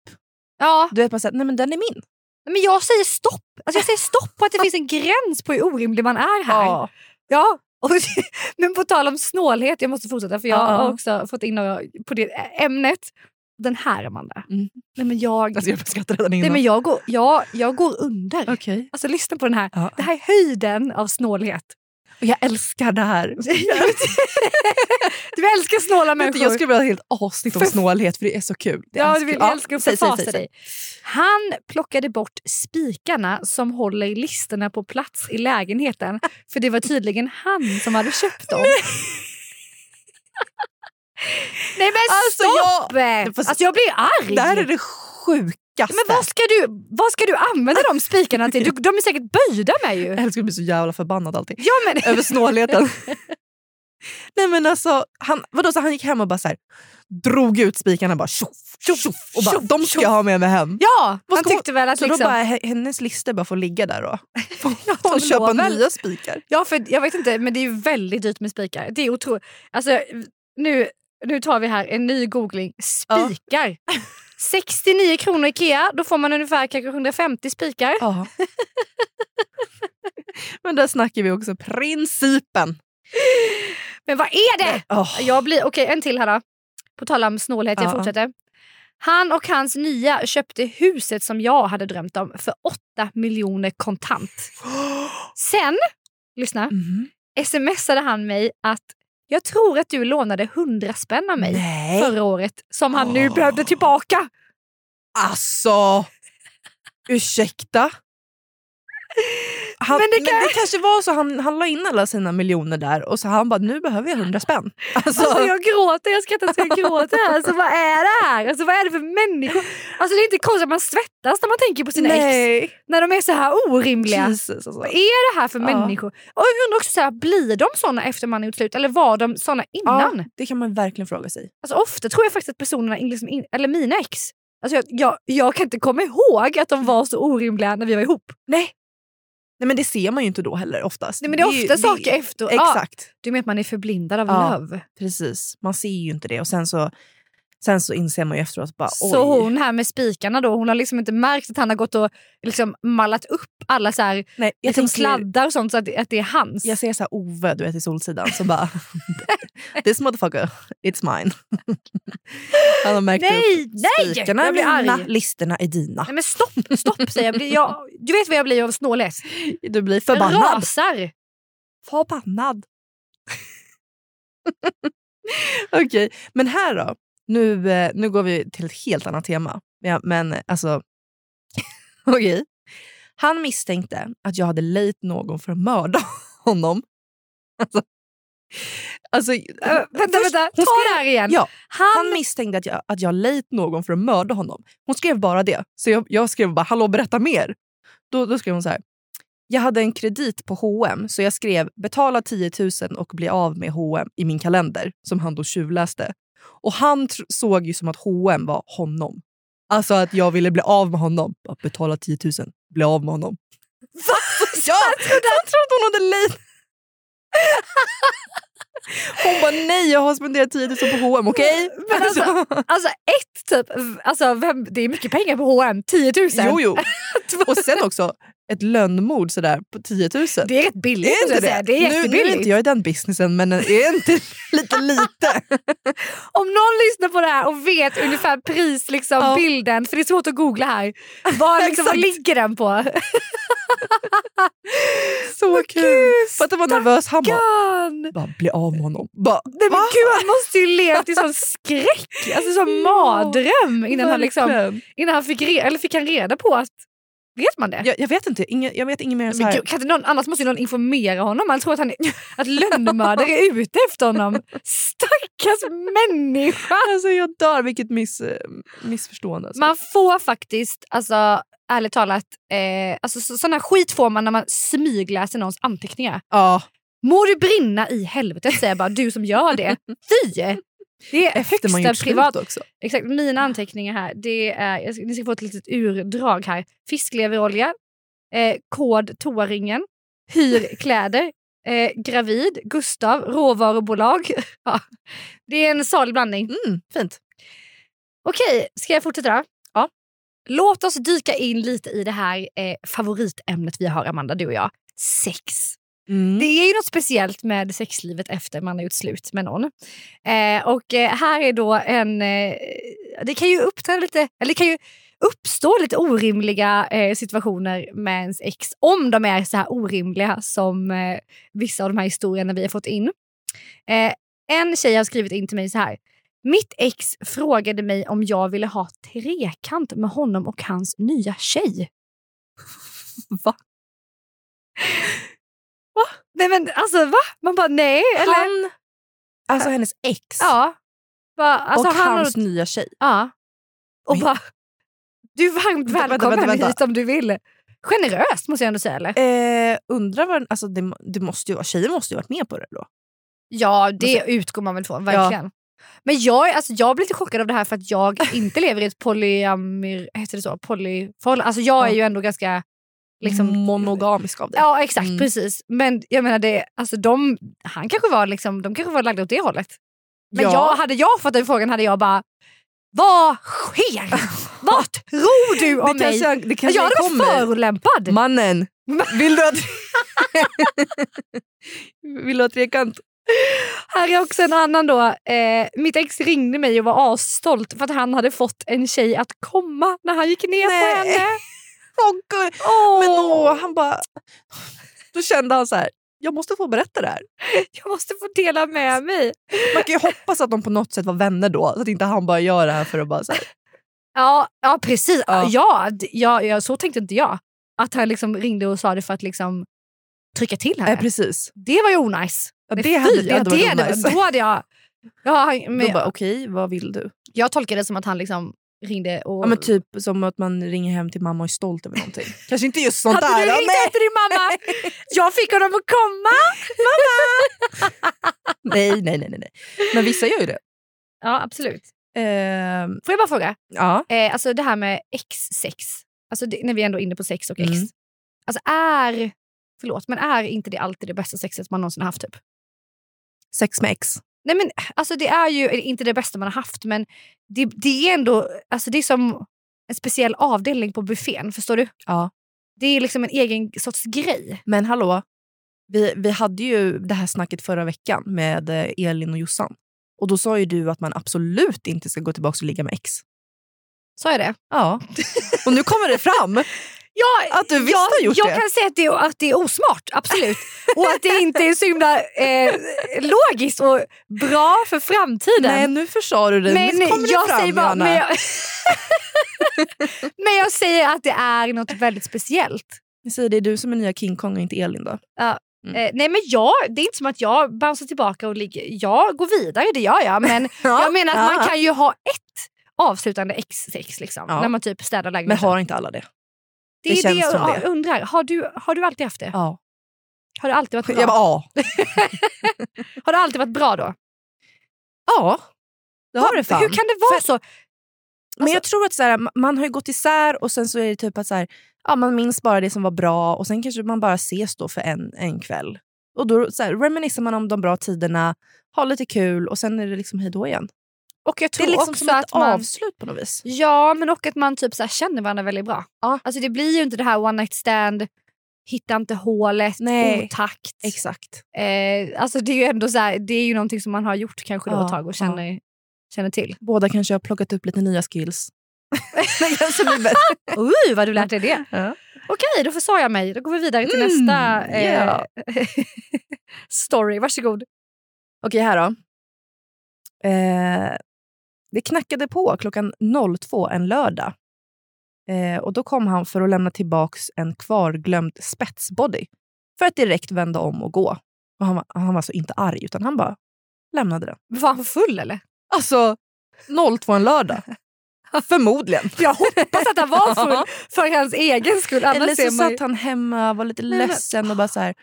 Speaker 1: Ja,
Speaker 2: Du vet bara så här, nej men den är min.
Speaker 1: men jag säger stopp. Alltså jag säger stopp på att det finns en gräns på hur orimlig man är här. Ja, och, men på tal om snålhet, jag måste fortsätta för jag
Speaker 2: Ja.
Speaker 1: har också fått in några på det ämnet. Den här Amanda.
Speaker 2: Mm.
Speaker 1: Nej, men jag,
Speaker 2: Alltså jag skrattar redan
Speaker 1: nej,
Speaker 2: innan.
Speaker 1: men jag, går, jag, jag går under.
Speaker 2: Okej.
Speaker 1: Alltså lyssna på den här.
Speaker 2: Ja.
Speaker 1: Det här är höjden av snålhet.
Speaker 2: Och Jag älskar det här.
Speaker 1: Du älskar snåla
Speaker 2: Vet du,
Speaker 1: människor.
Speaker 2: jag skulle vilja ha ett helt avsnitt om
Speaker 1: För-
Speaker 2: snålhet för det är så kul. Det är
Speaker 1: Ja, du
Speaker 2: så kul.
Speaker 1: vill, jag älskar att
Speaker 2: säg, säg,
Speaker 1: förfasa
Speaker 2: säg,
Speaker 1: dig.
Speaker 2: säg.
Speaker 1: Han plockade bort spikarna som håller listerna på plats i lägenheten. För det var tydligen han som hade köpt dem. Nej men
Speaker 2: Alltså,
Speaker 1: stopp!
Speaker 2: fast-
Speaker 1: Alltså jag blir arg!
Speaker 2: Det här är det sjukaste.
Speaker 1: Men vad ska, du, vad ska du använda de spikarna till? Du, de är säkert böjda med ju.
Speaker 2: Jag älskar att bli så jävla förbannad alltid.
Speaker 1: Ja, men,
Speaker 2: över snålheten. Nej men alltså, han, vadå, så han gick hem och bara så här, drog ut spikarna bara tjoff, tjoff, tjoff, och bara
Speaker 1: Tjoff,
Speaker 2: de ska jag ha med mig hem.
Speaker 1: ja
Speaker 2: Vad
Speaker 1: han
Speaker 2: ska hon-
Speaker 1: tyckte väl att
Speaker 2: så då
Speaker 1: liksom...
Speaker 2: bara, he- hennes lister bara får ligga där då.
Speaker 1: hon
Speaker 2: Och köpa
Speaker 1: lovar.
Speaker 2: nya spikar.
Speaker 1: Ja, för jag vet inte, men det är ju väldigt dyrt med spikar. Det är otroligt. Alltså, nu, nu tar vi här en ny googling. Spikar! 69 kronor Ikea, då får man ungefär kanske 150 spikar.
Speaker 2: Ja. men där snackar vi också principen.
Speaker 1: Men vad är det?
Speaker 2: Åh.
Speaker 1: Jag blir, okej en till här då. På tal om snålhet, jag
Speaker 2: Ja.
Speaker 1: fortsätter. Han och hans nya köpte huset som jag hade drömt om för 8 miljoner kontant. Sen, lyssna,
Speaker 2: Mhm.
Speaker 1: smsade han mig att jag tror att du lånade 100 spänn av mig
Speaker 2: Nej.
Speaker 1: förra året som han nu behövde tillbaka.
Speaker 2: Alltså, ursäkta? Han, men, det kanske var så han, han la in alla sina miljoner där och så han bara, nu behöver jag hundra spänn. Alltså,
Speaker 1: Alltså jag gråter, jag skrattar så jag gråter. Alltså vad är det här? Alltså vad är det för människor? Alltså det är inte konstigt att man svettas när man tänker på sina ex.
Speaker 2: nej.
Speaker 1: När de är så här orimliga.
Speaker 2: Jesus, alltså.
Speaker 1: Vad är det här för
Speaker 2: Ja.
Speaker 1: människor? Och jag undrar också, så här, blir de såna efter man är gjort slut eller var de såna innan?
Speaker 2: Ja, det kan man verkligen fråga sig.
Speaker 1: Alltså, ofta tror jag faktiskt att personerna, in- liksom in, eller mina ex, alltså jag, jag, jag kan inte komma ihåg att de var så orimliga när vi var ihop. Nej,
Speaker 2: Nej, men det ser man ju inte då heller oftast.
Speaker 1: Nej men det är
Speaker 2: ju-
Speaker 1: ofta saker
Speaker 2: det-
Speaker 1: efter. Ja,
Speaker 2: Exakt,
Speaker 1: du menar att man är förblindad av
Speaker 2: Ja.
Speaker 1: löv?
Speaker 2: precis. Man ser ju inte det och sen så, sen så inser man ju efteråt bara oj.
Speaker 1: Så hon här med spikarna då, hon har liksom inte märkt att han har gått och liksom mallat upp alla så här,
Speaker 2: Nej, jag,
Speaker 1: liksom
Speaker 2: tänker-
Speaker 1: sladdar och sånt så att, det- att det är hans.
Speaker 2: jag ser så här Ove du vet, i Solsidan som bara this motherfucker, it's mine. Han har märkt
Speaker 1: Nej,
Speaker 2: upp
Speaker 1: nej,
Speaker 2: spikarna är
Speaker 1: jag blir
Speaker 2: mina,
Speaker 1: arg.
Speaker 2: listerna är dina.
Speaker 1: Nej men stopp, stopp säger jag. Blir- jag. Du vet vad jag blir av snålhet?
Speaker 2: Du blir
Speaker 1: Jag
Speaker 2: förbannad. Äh,
Speaker 1: rasar.
Speaker 2: Förbannad. Okej, men här då. Nu, eh, nu går vi till ett helt annat tema. Ja, men eh, alltså... Okej. Han misstänkte att jag hade lejt någon för att mörda honom. Alltså... alltså
Speaker 1: Äh, vänta,
Speaker 2: först-
Speaker 1: vänta. Ta
Speaker 2: hon skrev-
Speaker 1: det här igen.
Speaker 2: Ja, han
Speaker 1: Han,
Speaker 2: misstänkte att jag, att jag lejt någon för att mörda honom. Hon skrev bara det. Så jag, jag skrev bara “Hallå, berätta mer”. Då, då skrev hon så här. Jag hade en kredit på H&M så jag skrev “Betala 10 000 och bli av med H&M i min kalender” som han då tjuvläste. Och han tr- såg ju som att H&M var honom. Alltså att jag ville bli av med honom. Bara, “Betala 10 000, bli av med honom”. Va? Ja, han trodde att hon hade lejt. Hon bara “Nej, jag har spenderat 10 000 på H&M, okej?”
Speaker 1: Men alltså,
Speaker 2: Alltså.
Speaker 1: alltså ett typ, alltså vem, det är mycket pengar på H&M 10 000.
Speaker 2: Jo, jo. Och sen också ett lönnmord sådär på 10 000.
Speaker 1: Det är rätt billigt. måste jag säga. det är
Speaker 2: nu, nu är
Speaker 1: jättebilligt.
Speaker 2: inte jag i den businessen, men är inte lite lite?
Speaker 1: Om någon lyssnar på det här och vet ungefär pris, liksom,
Speaker 2: Ja.
Speaker 1: bilden, för det är svårt att googla här. Vad, liksom, vad
Speaker 2: Exakt.
Speaker 1: ligger den på?
Speaker 2: Så kul! Fattar vad nervös han var.
Speaker 1: Gan!
Speaker 2: Bara, bli av med honom. Bara,
Speaker 1: Nej, men
Speaker 2: va?
Speaker 1: gud, han måste ju levt i sån skräck, alltså sån
Speaker 2: Ja,
Speaker 1: mardröm innan han, liksom,
Speaker 2: Verkligen.
Speaker 1: innan han fick, re- eller fick han reda på att... Vet man det?
Speaker 2: Jag, jag vet inte, Inge, jag vet inget mer än så
Speaker 1: Men
Speaker 2: här.
Speaker 1: gud, kan inte någon, annars måste ju någon informera honom. Han tror att, han är, att lönnmördare är ute efter honom. Stackars människa!
Speaker 2: Alltså jag dör, vilket miss, eh, missförstående. Alltså.
Speaker 1: Man får faktiskt, alltså, ärligt talat, eh, alltså, så, sån här skit får man när man smygläser någons anteckningar.
Speaker 2: ja,
Speaker 1: Må du brinna i helvetet, säger jag bara, du som gör det. Fy! Det är
Speaker 2: efter man gjort
Speaker 1: högsta
Speaker 2: privat
Speaker 1: privat.
Speaker 2: också.
Speaker 1: Exakt, mina anteckningar här, det är, jag ska, ni ska få ett litet urdrag här. Fiskleverolja, eh, kod toaringen, hyr kläder, eh, gravid, Gustav, råvarubolag. ja. Det är en salig blandning.
Speaker 2: Mm, fint.
Speaker 1: Okej, ska jag fortsätta då?
Speaker 2: Ja.
Speaker 1: Låt oss dyka in lite i det här eh, favoritämnet vi har, Amanda, du och jag. Sex.
Speaker 2: Mm.
Speaker 1: Det är ju något speciellt med sexlivet efter man har gjort slut med någon. Eh, och eh, här är då en... Eh, det kan ju uppträda lite... Eller det kan ju uppstå lite orimliga eh, situationer med ens ex om de är så här orimliga som eh, vissa av de här historierna vi har fått in. Eh, en tjej har skrivit in till mig så här. Mitt ex frågade mig om jag ville ha trekant med honom och hans nya tjej.
Speaker 2: Va?
Speaker 1: Nej men alltså va? Man bara nej. Eller?
Speaker 2: Han, alltså hennes ex
Speaker 1: Ja. Bara, alltså,
Speaker 2: och
Speaker 1: han har-
Speaker 2: hans nya tjej.
Speaker 1: Ja. Och
Speaker 2: Men-
Speaker 1: bara, du är varmt
Speaker 2: Vänta, vänta,
Speaker 1: välkommen
Speaker 2: vänta, vänta.
Speaker 1: hit om du vill. Generöst måste jag ändå säga eller?
Speaker 2: Eh, undrar vad den- alltså det, det måste ju vara, tjejen måste ju ha varit med på det då.
Speaker 1: Ja, det utgår man väl från. Verkligen. Men jag, är- alltså, jag blir lite chockad av det här för att jag inte lever i ett polyamir... Heter det så? Polyförhållande. Alltså jag är
Speaker 2: Ja.
Speaker 1: ju ändå ganska... Liksom,
Speaker 2: Monogamisk av det.
Speaker 1: Ja exakt,
Speaker 2: Mm.
Speaker 1: precis. Men jag menar, det, alltså, de, han kanske var, liksom, de kanske var lagda åt det hållet. Men
Speaker 2: Ja.
Speaker 1: jag, hade jag fått den frågan hade jag bara, vad sker? Vad tror du om
Speaker 2: det
Speaker 1: mig?
Speaker 2: kanske, det kanske
Speaker 1: jag hade varit
Speaker 2: kommer.
Speaker 1: förolämpad.
Speaker 2: Mannen,
Speaker 1: Ma-
Speaker 2: vill du ha, tre- vill du ha trekant?
Speaker 1: Här är också en annan då. Eh, mitt ex ringde mig och var asstolt för att han hade fått en tjej att komma när han gick ner på
Speaker 2: Nej.
Speaker 1: henne.
Speaker 2: Åh, gud. Men åh, han bara... Då kände han så här, jag måste få berätta det här.
Speaker 1: Jag måste få dela med mig.
Speaker 2: Man kan ju hoppas att de på något sätt var vänner då, så att inte han bara gör det här för att bara... Så här,
Speaker 1: Ja, ja precis. Ja.
Speaker 2: Ja.
Speaker 1: d- ja, ja, så tänkte inte jag. Att han liksom ringde och sa det för att liksom trycka till henne.
Speaker 2: eh, precis.
Speaker 1: det var ju onajs.
Speaker 2: Ja,
Speaker 1: Nej,
Speaker 2: det hade-
Speaker 1: fy,
Speaker 2: det hade varit onajs.
Speaker 1: Då hade jag... Ja, han- men,
Speaker 2: Då bara, okej, vad vill du?
Speaker 1: jag tolkade det som att han liksom ringde och...
Speaker 2: Ja, men typ som att man ringer hem till mamma och är stolt över någonting. Kanske inte just sånt
Speaker 1: hade
Speaker 2: där.
Speaker 1: du
Speaker 2: ja,
Speaker 1: ringt
Speaker 2: nej.
Speaker 1: efter din mamma? Jag fick honom att komma!
Speaker 2: nej, nej, nej, nej, nej. Men vissa gör ju det.
Speaker 1: Ja, absolut.
Speaker 2: Ehm,
Speaker 1: Får jag bara fråga?
Speaker 2: ja.
Speaker 1: Eh, alltså det här med ex-sex. Alltså det, när vi ändå är inne på sex och ex.
Speaker 2: Mm.
Speaker 1: Alltså är... Förlåt, men är inte det alltid det bästa sexet man någonsin har haft? Typ?
Speaker 2: Sex med ex.
Speaker 1: Nej men alltså det är ju eller inte det bästa man har haft men det, det är ändå alltså det är som en speciell avdelning på buffén. Förstår du?
Speaker 2: Ja.
Speaker 1: Det är liksom en egen sorts grej.
Speaker 2: Men hallå, vi, vi hade ju det här snacket förra veckan med eh, Elin och Jossan. Och då sa ju du att man absolut inte ska gå tillbaka och ligga med ex.
Speaker 1: Sa jag det?
Speaker 2: Ja. Och nu kommer det fram
Speaker 1: Ja,
Speaker 2: att du visst har gjort
Speaker 1: jag
Speaker 2: det.
Speaker 1: kan säga att det, är, att det är osmart, absolut. Och att det inte är så himla eh, logiskt och bra för framtiden.
Speaker 2: Nej, nu försade du dig. Men nu kommer
Speaker 1: jag
Speaker 2: det fram,
Speaker 1: säger bara,
Speaker 2: Johanna.
Speaker 1: men, jag, men jag säger att det är något väldigt speciellt.
Speaker 2: Jag säger det är du som är nya King Kong och inte Elin då.
Speaker 1: Eh, nej men jag, det är inte som att jag bouncear tillbaka och ligger. Jag går vidare, det gör jag. Men jag menar att man kan ju ha ett avslutande ex-sex liksom,
Speaker 2: Ja.
Speaker 1: när man typ städar
Speaker 2: Men
Speaker 1: lägenheten.
Speaker 2: har inte alla det?
Speaker 1: det,
Speaker 2: det
Speaker 1: är det
Speaker 2: känns
Speaker 1: jag
Speaker 2: som det.
Speaker 1: ja, undrar. Har du, har du alltid haft det?
Speaker 2: Ja.
Speaker 1: Har, du alltid varit bra?
Speaker 2: Jag bara, ja.
Speaker 1: har du alltid varit bra då?
Speaker 2: Ja, det har det fan.
Speaker 1: Hur kan det vara så?
Speaker 2: Men jag tror att så här, ma- man har ju gått isär och sen så är det typ att så här, ja, man minns bara det som var bra och sen kanske man bara ses då för en, en kväll. Och då så här, reminissar man om de bra tiderna, har lite kul och sen är det liksom hejdå igen.
Speaker 1: Och jag
Speaker 2: Det
Speaker 1: tror
Speaker 2: är liksom
Speaker 1: också
Speaker 2: som ett
Speaker 1: att man...
Speaker 2: avslut på något vis.
Speaker 1: Ja, men och att man typ så här känner varandra väldigt bra.
Speaker 2: Ja.
Speaker 1: Alltså det blir ju inte det här one night stand, hitta inte hålet,
Speaker 2: Nej.
Speaker 1: otakt.
Speaker 2: Exakt.
Speaker 1: Eh, alltså det är ju ändå så här, det är ju någonting som man har gjort kanske då
Speaker 2: Ja,
Speaker 1: ett tag och känner, känner till.
Speaker 2: Båda kanske har plockat upp lite nya skills. Nej, alltså, vi vet.
Speaker 1: Oj, vad du lärt dig det.
Speaker 2: Ja.
Speaker 1: Okej, då försade jag mig. Då går vi vidare till
Speaker 2: Mm,
Speaker 1: nästa eh,
Speaker 2: ja.
Speaker 1: story. Varsågod.
Speaker 2: Okej, här då. Eh, det knackade på klockan 02 en lördag. Eh, och Då kom han för att lämna tillbaks en kvarglömd spetsbody för att direkt vända om och gå. Och han, var- han var alltså inte arg, utan han bara lämnade den.
Speaker 1: Var han full eller?
Speaker 2: Alltså, 02 en lördag. Förmodligen.
Speaker 1: Jag hoppas att han var full för hans egen skull. Annars
Speaker 2: Eller
Speaker 1: är
Speaker 2: så
Speaker 1: man ju...
Speaker 2: satt han hemma var lite
Speaker 1: men-
Speaker 2: ledsen och bara så här,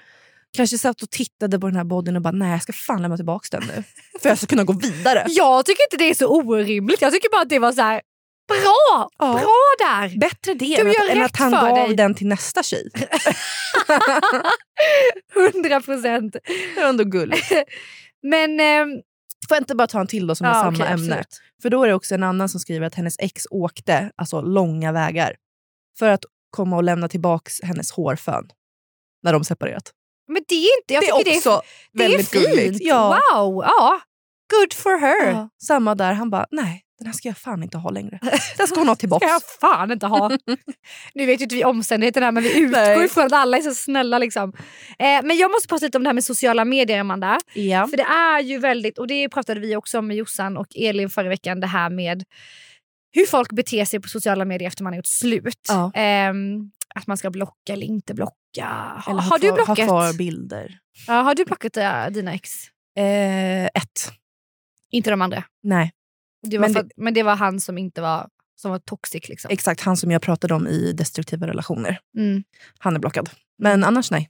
Speaker 2: kanske satt och tittade på den här bodyn och bara nej, jag ska fan lämna tillbaks den nu. För jag ska kunna gå vidare.
Speaker 1: Jag tycker inte det är så orimligt. Jag tycker bara att det var så här bra!
Speaker 2: Ja.
Speaker 1: Bra där!
Speaker 2: Bättre det
Speaker 1: Du
Speaker 2: än,
Speaker 1: gör
Speaker 2: att, än
Speaker 1: rätt
Speaker 2: att han
Speaker 1: för
Speaker 2: gav
Speaker 1: dig.
Speaker 2: den till nästa tjej.
Speaker 1: 100 procent.
Speaker 2: Det var ändå gulligt.
Speaker 1: Men... ehm,
Speaker 2: Får jag inte bara ta en till då som har samma
Speaker 1: okej,
Speaker 2: ämne?
Speaker 1: absolut.
Speaker 2: För då är det också en annan som skriver att hennes ex åkte alltså långa vägar för att komma och lämna tillbaks hennes hårfön när de separerat.
Speaker 1: Men det är inte... Jag tycker det är Det är fint.
Speaker 2: Ja.
Speaker 1: Wow! Ja. Good for her.
Speaker 2: Ja. Samma där, han bara nej, den här ska jag fan inte ha längre. Den ska hon ha
Speaker 1: ska
Speaker 2: tillbaks.
Speaker 1: jag fan inte ha. nu vet ju inte vi omständigheterna men vi utgår
Speaker 2: Nej.
Speaker 1: ifrån att alla är så snälla. Liksom. Eh, men jag måste prata lite om det här med sociala medier Amanda.
Speaker 2: Ja.
Speaker 1: För det är ju väldigt, och det pratade vi också om med Jossan och Elin förra veckan, det här med hur folk beter sig på sociala medier efter man har gjort slut.
Speaker 2: Ja.
Speaker 1: Ehm, att man ska blocka eller inte blocka. Har,
Speaker 2: Eller ha
Speaker 1: har du
Speaker 2: kvar-
Speaker 1: blockat?
Speaker 2: Ha kvar bilder.
Speaker 1: ja, har du blockat eh, dina ex?
Speaker 2: Eh, ett.
Speaker 1: Inte de andra.
Speaker 2: Nej.
Speaker 1: Det var
Speaker 2: Men
Speaker 1: men,
Speaker 2: det-
Speaker 1: för, att- men det var han som inte var, som var toxic liksom.
Speaker 2: Exakt, han som jag pratade om i destruktiva relationer.
Speaker 1: Mm.
Speaker 2: Han är blockad. Men annars nej.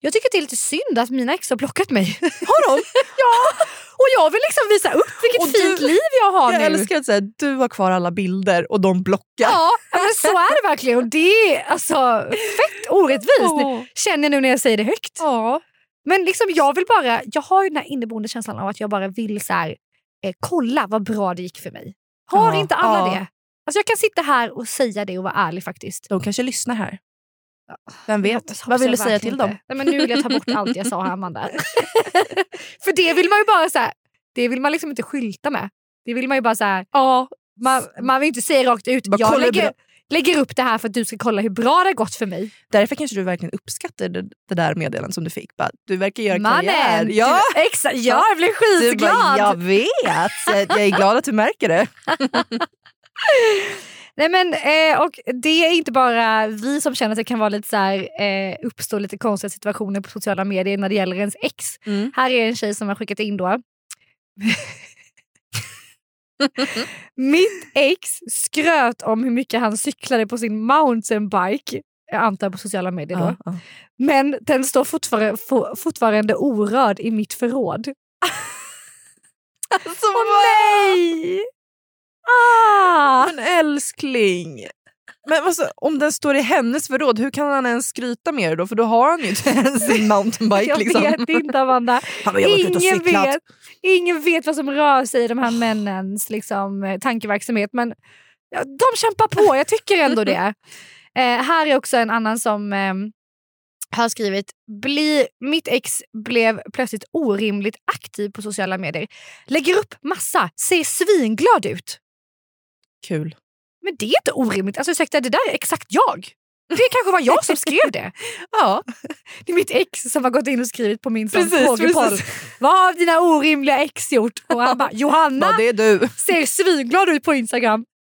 Speaker 1: Jag tycker det är lite synd att mina ex har blockat mig. Har de? ja! Och jag vill liksom visa upp vilket
Speaker 2: Och du-
Speaker 1: fint liv jag har
Speaker 2: jag
Speaker 1: nu.
Speaker 2: älskar att säga, du har kvar alla bilder och de blockar.
Speaker 1: Ja, men så är det verkligen. Och det är alltså fett orättvist,
Speaker 2: Åh.
Speaker 1: känner jag nu när jag säger det högt.
Speaker 2: Ja.
Speaker 1: Men liksom jag vill bara, jag har ju den här inneboende känslan av att jag bara vill så här, eh, kolla vad bra det gick för mig. Har
Speaker 2: Ja,
Speaker 1: inte alla
Speaker 2: ja.
Speaker 1: det? Alltså jag kan sitta här och säga det och vara ärlig faktiskt.
Speaker 2: De kanske lyssnar här. Vem
Speaker 1: Ah, Jag
Speaker 2: vet?
Speaker 1: hoppas
Speaker 2: Vad vill du
Speaker 1: jag
Speaker 2: säga
Speaker 1: verkligen
Speaker 2: till dem?
Speaker 1: inte. Nej, men nu vill jag ta bort allt jag sa här, Amanda. För det vill man ju bara så här, det vill man liksom inte skylta med. Det vill man ju bara så här, ja, man, man vill inte säga rakt ut.
Speaker 2: Bara
Speaker 1: jag
Speaker 2: kolla hur bra-
Speaker 1: lägger, lägger upp det här för att du ska kolla hur bra det har gått för mig.
Speaker 2: Därför kanske du verkligen uppskattar det, det där meddelandet som du fick. Bara, du verkar göra karriär.
Speaker 1: Mannen!
Speaker 2: Ja,
Speaker 1: Du, exakt, ja, jag blev
Speaker 2: du
Speaker 1: skitglad.
Speaker 2: bara, jag vet. Jag är glad att du märker det.
Speaker 1: Nej, men, eh, och det är inte bara vi som känner att det kan vara lite så här, eh, uppstå lite konstiga situationer på sociala medier när det gäller ens ex.
Speaker 2: Mm.
Speaker 1: Här är en tjej som har skickat in då. Mitt ex skröt om hur mycket han cyklade på sin mountainbike. Jag antar på sociala medier då.
Speaker 2: Ja, ja.
Speaker 1: Men den står fortfarande, for, fortfarande orörd i mitt förråd.
Speaker 2: Alltså,
Speaker 1: Åh nej! Ah!
Speaker 2: Men älskling. Men alltså, om den står i hennes förråd, hur kan han ens skryta med det då? För då har han ju inte ens sin mountainbike.
Speaker 1: Jag
Speaker 2: Liksom.
Speaker 1: vet inte Amanda.
Speaker 2: Han bara, jag har varit ute och
Speaker 1: Ingen
Speaker 2: cyklat.
Speaker 1: vet, ingen vet vad som rör sig i de här männens liksom, eh, tankeverksamhet. Men ja, de kämpar på, jag tycker ändå det. Eh, här är också en annan som eh, har skrivit Bli, Mitt ex blev plötsligt orimligt aktiv på sociala medier. Lägger upp massa, ser svinglad ut.
Speaker 2: Kul.
Speaker 1: Men det är inte orimligt. Alltså ursäkta, det där är exakt jag. Det kanske var jag som skrev det.
Speaker 2: Ja,
Speaker 1: Det är mitt ex som har gått in och skrivit på min sån
Speaker 2: Precis,
Speaker 1: frågepoll. Vad har dina orimliga ex gjort? Och han bara, Johanna
Speaker 2: bara, det är du.
Speaker 1: ser svinglad ut på Instagram.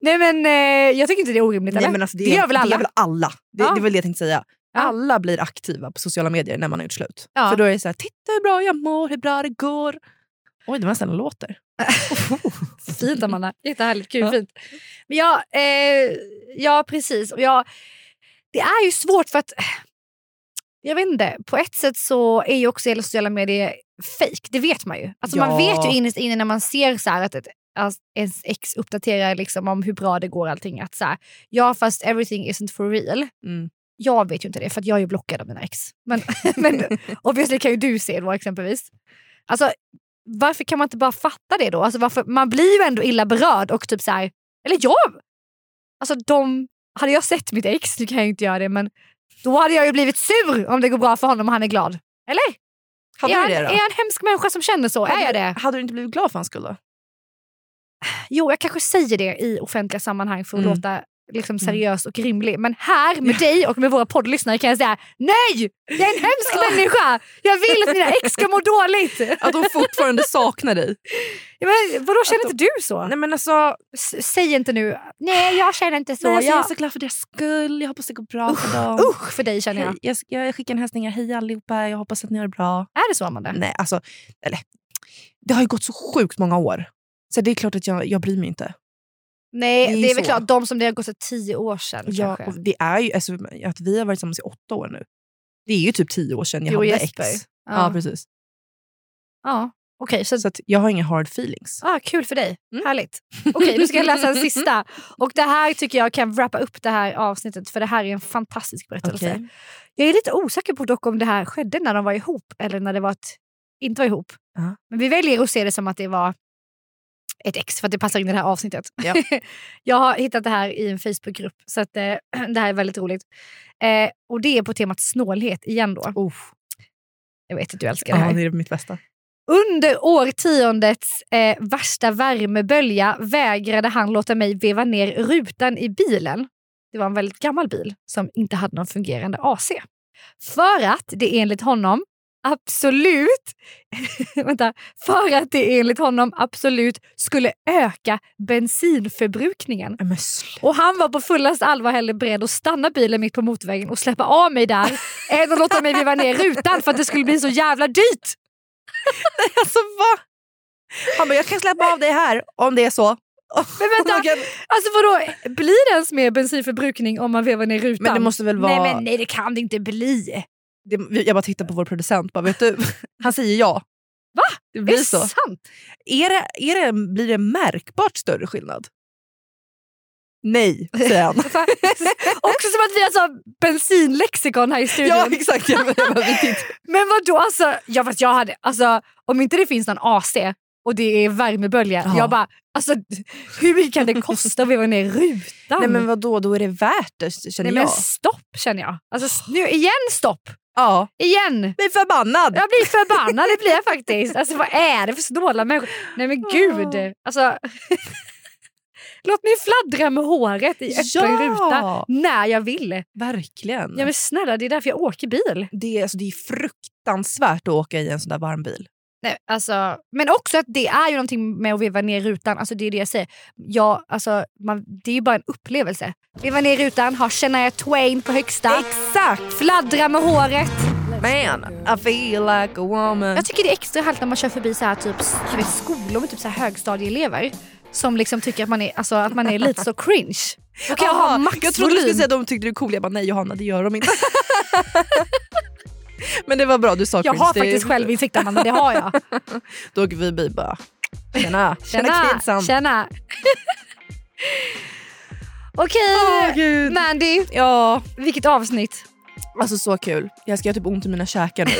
Speaker 1: Nej men eh, jag tycker inte det är orimligt
Speaker 2: Nej,
Speaker 1: eller?
Speaker 2: men alltså, det,
Speaker 1: Det gör väl
Speaker 2: Det
Speaker 1: alla?
Speaker 2: är väl alla. Det,
Speaker 1: Ja.
Speaker 2: det är väl det jag tänkte säga.
Speaker 1: Ja.
Speaker 2: Alla blir aktiva på sociala medier när man har gjort slut.
Speaker 1: Ja.
Speaker 2: För då är det så här, titta hur bra jag mår, hur bra det går. Oj, det var nästan en låt där.
Speaker 1: Fint Amanda, jättehärligt, kul,
Speaker 2: Ja.
Speaker 1: fint. Men ja, eh, ja precis. Och jag, det är ju svårt för att, jag vet inte, på ett sätt så är ju också hela sociala medier fake. det vet man ju. Alltså
Speaker 2: Ja.
Speaker 1: Man vet ju innerst inne när man ser så här att ett, att ens ex uppdaterar liksom om hur bra det går och allting. Att så här, ja fast everything isn't for real.
Speaker 2: Mm.
Speaker 1: Jag vet ju inte det för att jag är ju blockad av mina ex. Men, men obviously kan ju du se då exempelvis. Alltså varför kan man inte bara fatta det då? Alltså, varför, man blir ju ändå illa berörd och typ så här, eller jag, alltså de, hade jag sett mitt ex, nu kan jag ju inte göra det men då hade jag ju blivit sur om det går bra för honom och han är glad. Eller?
Speaker 2: Hade
Speaker 1: är,
Speaker 2: du det
Speaker 1: han,
Speaker 2: då?
Speaker 1: är jag en hemsk människa som känner så? Är jag det?
Speaker 2: Hade du inte blivit glad för hans skull då?
Speaker 1: Jo, jag kanske säger det i offentliga sammanhang för att
Speaker 2: Mm.
Speaker 1: låta liksom seriös och rimlig. Men här med dig och med våra poddlyssnare kan jag säga nej! Jag är en hemsk människa! Jag vill att mina ex ska må dåligt!
Speaker 2: Att de fortfarande saknar dig?
Speaker 1: Ja, Men, vadå, känner inte du så?
Speaker 2: Nej men alltså,
Speaker 1: S- säg inte nu nej jag känner inte så.
Speaker 2: nej, alltså, jag är
Speaker 1: jag,
Speaker 2: så glad för deras skull, jag hoppas det går bra för dem.
Speaker 1: usch för dig känner jag.
Speaker 2: Hej, jag, jag skickar en hälsning. Hej allihopa, jag hoppas att ni har det bra.
Speaker 1: Är det så Amanda?
Speaker 2: Nej, alltså, eller, det har ju gått så sjukt många år. Så det är klart att jag, jag bryr mig inte.
Speaker 1: Nej,
Speaker 2: Det är
Speaker 1: det
Speaker 2: ju
Speaker 1: är, väl
Speaker 2: så.
Speaker 1: klart de som det har gått för tio år sedan
Speaker 2: Jag,
Speaker 1: kanske.
Speaker 2: och det är ju, alltså, att vi har varit tillsammans i åtta år nu. Det är ju typ tio år sedan jag
Speaker 1: Jo,
Speaker 2: hade
Speaker 1: Jesper.
Speaker 2: ex. Ja,
Speaker 1: Ja.
Speaker 2: precis.
Speaker 1: Ja. Okej, så
Speaker 2: Så att jag har inga hard feelings.
Speaker 1: Ah, kul för dig.
Speaker 2: Mm.
Speaker 1: Härligt. Okej, nu ska jag läsa en sista. Och Det här tycker jag kan wrappa upp det här avsnittet för det här är en fantastisk berättelse.
Speaker 2: Okej.
Speaker 1: Jag är lite osäker på dock om det här skedde när de var ihop eller när det var ett, inte var ihop.
Speaker 2: Ja.
Speaker 1: Men vi väljer att se det som att det var ett ex för att det passar in i det här avsnittet.
Speaker 2: Ja.
Speaker 1: jag har hittat det här i en Facebookgrupp så att, eh, det här är väldigt roligt. Eh, och det är på temat snålhet igen då.
Speaker 2: Oh,
Speaker 1: Jag vet att du älskar det här.
Speaker 2: ja, det är mitt bästa.
Speaker 1: Under årtiondets eh, värsta värmebölja vägrade han låta mig veva ner rutan i bilen. Det var en väldigt gammal bil som inte hade någon fungerande AC. För att det enligt honom absolut vänta, för att det enligt honom absolut skulle öka bensinförbrukningen.
Speaker 2: Men sluta.
Speaker 1: Och han var på fullast allvar hellre beredd att stanna bilen mitt på motorvägen och släppa av mig där än att låta mig veva ner rutan för att det skulle bli så jävla dyrt.
Speaker 2: Alltså va? Han bara, jag kan släppa av dig här om det är så.
Speaker 1: Men
Speaker 2: Oh
Speaker 1: vänta, Alltså vadå, blir det ens mer bensinförbrukning om man vevar ner rutan?
Speaker 2: Men det måste väl vara...
Speaker 1: Nej men nej det kan det inte bli.
Speaker 2: det, jag bara tittar på vår producent. Bara, vet du? Han säger ja.
Speaker 1: Va?
Speaker 2: Det
Speaker 1: Det
Speaker 2: blir
Speaker 1: är
Speaker 2: så.
Speaker 1: sant?
Speaker 2: Är det, är det, blir det märkbart större skillnad? Nej, säger han.
Speaker 1: Fan. Också som att vi alltså bensinlexikon här i studion.
Speaker 2: ja, exakt. Jag, bara- jag bara, vi tittar.
Speaker 1: Men vadå alltså, jag, vet, jag hade, alltså om inte det finns någon AC och det är värmebölja.
Speaker 2: Ja.
Speaker 1: Jag bara, alltså hur kan det kosta att veva ner rutan?
Speaker 2: Nej men vadå, då är det värt det känner
Speaker 1: Nej, men
Speaker 2: jag.
Speaker 1: stopp känner jag. Alltså, s- nu, igen stopp!
Speaker 2: Ja.
Speaker 1: Igen!
Speaker 2: Bli förbannad!
Speaker 1: Jag blir förbannad, det blir jag faktiskt. Alltså vad är det för snåla människor? Nej men gud! Alltså, låt mig fladdra med håret i öppen
Speaker 2: Ja. Mm.
Speaker 1: ruta när jag vill.
Speaker 2: Verkligen.
Speaker 1: Ja men snälla, det är därför jag åker bil.
Speaker 2: det, är- alltså, det är fruktansvärt att åka i en sån där varm bil.
Speaker 1: Nej, alltså, men också att det är ju någonting med att veva ner rutan. Alltså, det är det jag säger. Ja, alltså, man, det är ju bara en upplevelse. Veva ner rutan, ha Shania Twain på högsta.
Speaker 2: Exakt!
Speaker 1: Fladdra med håret.
Speaker 2: Man, I feel like a woman.
Speaker 1: Jag tycker det är extra halt när man kör förbi så här, typ, jag vet, skolor med typ så här högstadieelever som liksom tycker att man är, alltså, att man är lite så cringe. Då kan jag ha
Speaker 2: Aha,
Speaker 1: max
Speaker 2: Ah, jag trodde du skulle
Speaker 1: volym.
Speaker 2: säga att de tyckte du är cool. Jag bara, nej Johanna det gör de inte. men det var bra du sa
Speaker 1: Jag
Speaker 2: cringe.
Speaker 1: har
Speaker 2: Det-
Speaker 1: faktiskt självinsikt Amanda, det har jag.
Speaker 2: Då åker vi bi bara, tjena, tjena,
Speaker 1: Tjena!
Speaker 2: kidsen.
Speaker 1: Tjena! Okej,
Speaker 2: Åh, Gud.
Speaker 1: Mandy.
Speaker 2: Ja,
Speaker 1: Vilket avsnitt.
Speaker 2: alltså så kul. Jag ska göra typ ont i mina käkar nu.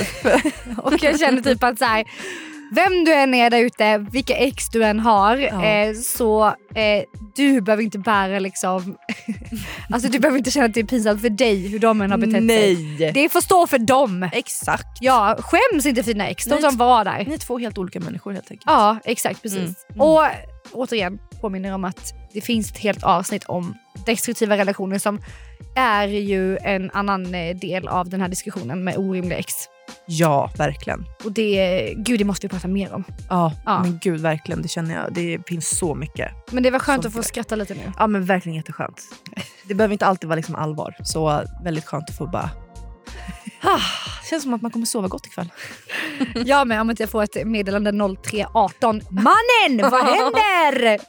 Speaker 1: Och jag känner typ att så här, vem du än är där ute, vilka ex du än har,
Speaker 2: Ja.
Speaker 1: eh, så eh, du behöver inte bära liksom... alltså du behöver inte känna att det är pinsamt för dig hur de än har betett sig.
Speaker 2: nej!
Speaker 1: Det får stå för dem.
Speaker 2: Exakt.
Speaker 1: Ja, skäms inte för dina ex, de
Speaker 2: Nej.
Speaker 1: som var där.
Speaker 2: Ni är två helt olika människor helt enkelt.
Speaker 1: Ja, exakt precis.
Speaker 2: Mm.
Speaker 1: Och återigen påminner om att det finns ett helt avsnitt om destruktiva relationer som är ju en annan eh, del av den här diskussionen med orimliga ex.
Speaker 2: Ja, verkligen.
Speaker 1: Och det, gud det måste vi prata mer om.
Speaker 2: Ja,
Speaker 1: Ja.
Speaker 2: men gud verkligen. Det känner jag. Det finns så mycket.
Speaker 1: Men det var skönt
Speaker 2: Som
Speaker 1: att få
Speaker 2: grej.
Speaker 1: skratta lite nu.
Speaker 2: Ja, men verkligen jätteskönt. Det behöver inte alltid vara liksom allvar. Så väldigt skönt att få bara... Ah, känns som att man kommer sova gott ikväll.
Speaker 1: Jag med om inte jag får ett meddelande 0318. Mannen, vad händer?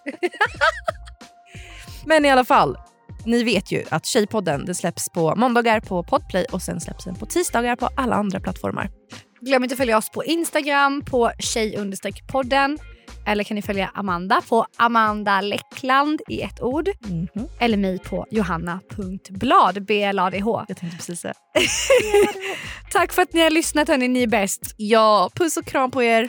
Speaker 2: Men i alla fall, ni vet ju att Tjejpodden den släpps på måndagar på Podplay och sen släpps den på tisdagar på alla andra plattformar.
Speaker 1: Glöm inte att följa oss på Instagram på tjej-podden. Eller kan ni följa Amanda på Amanda Leckland i ett ord. Eller mig på johanna.blad. B-L-A-D-H.
Speaker 2: Jag tänkte precis säga.
Speaker 1: Tack för att ni har lyssnat hörni, ni är bäst.
Speaker 2: Ja, puss och kram på er.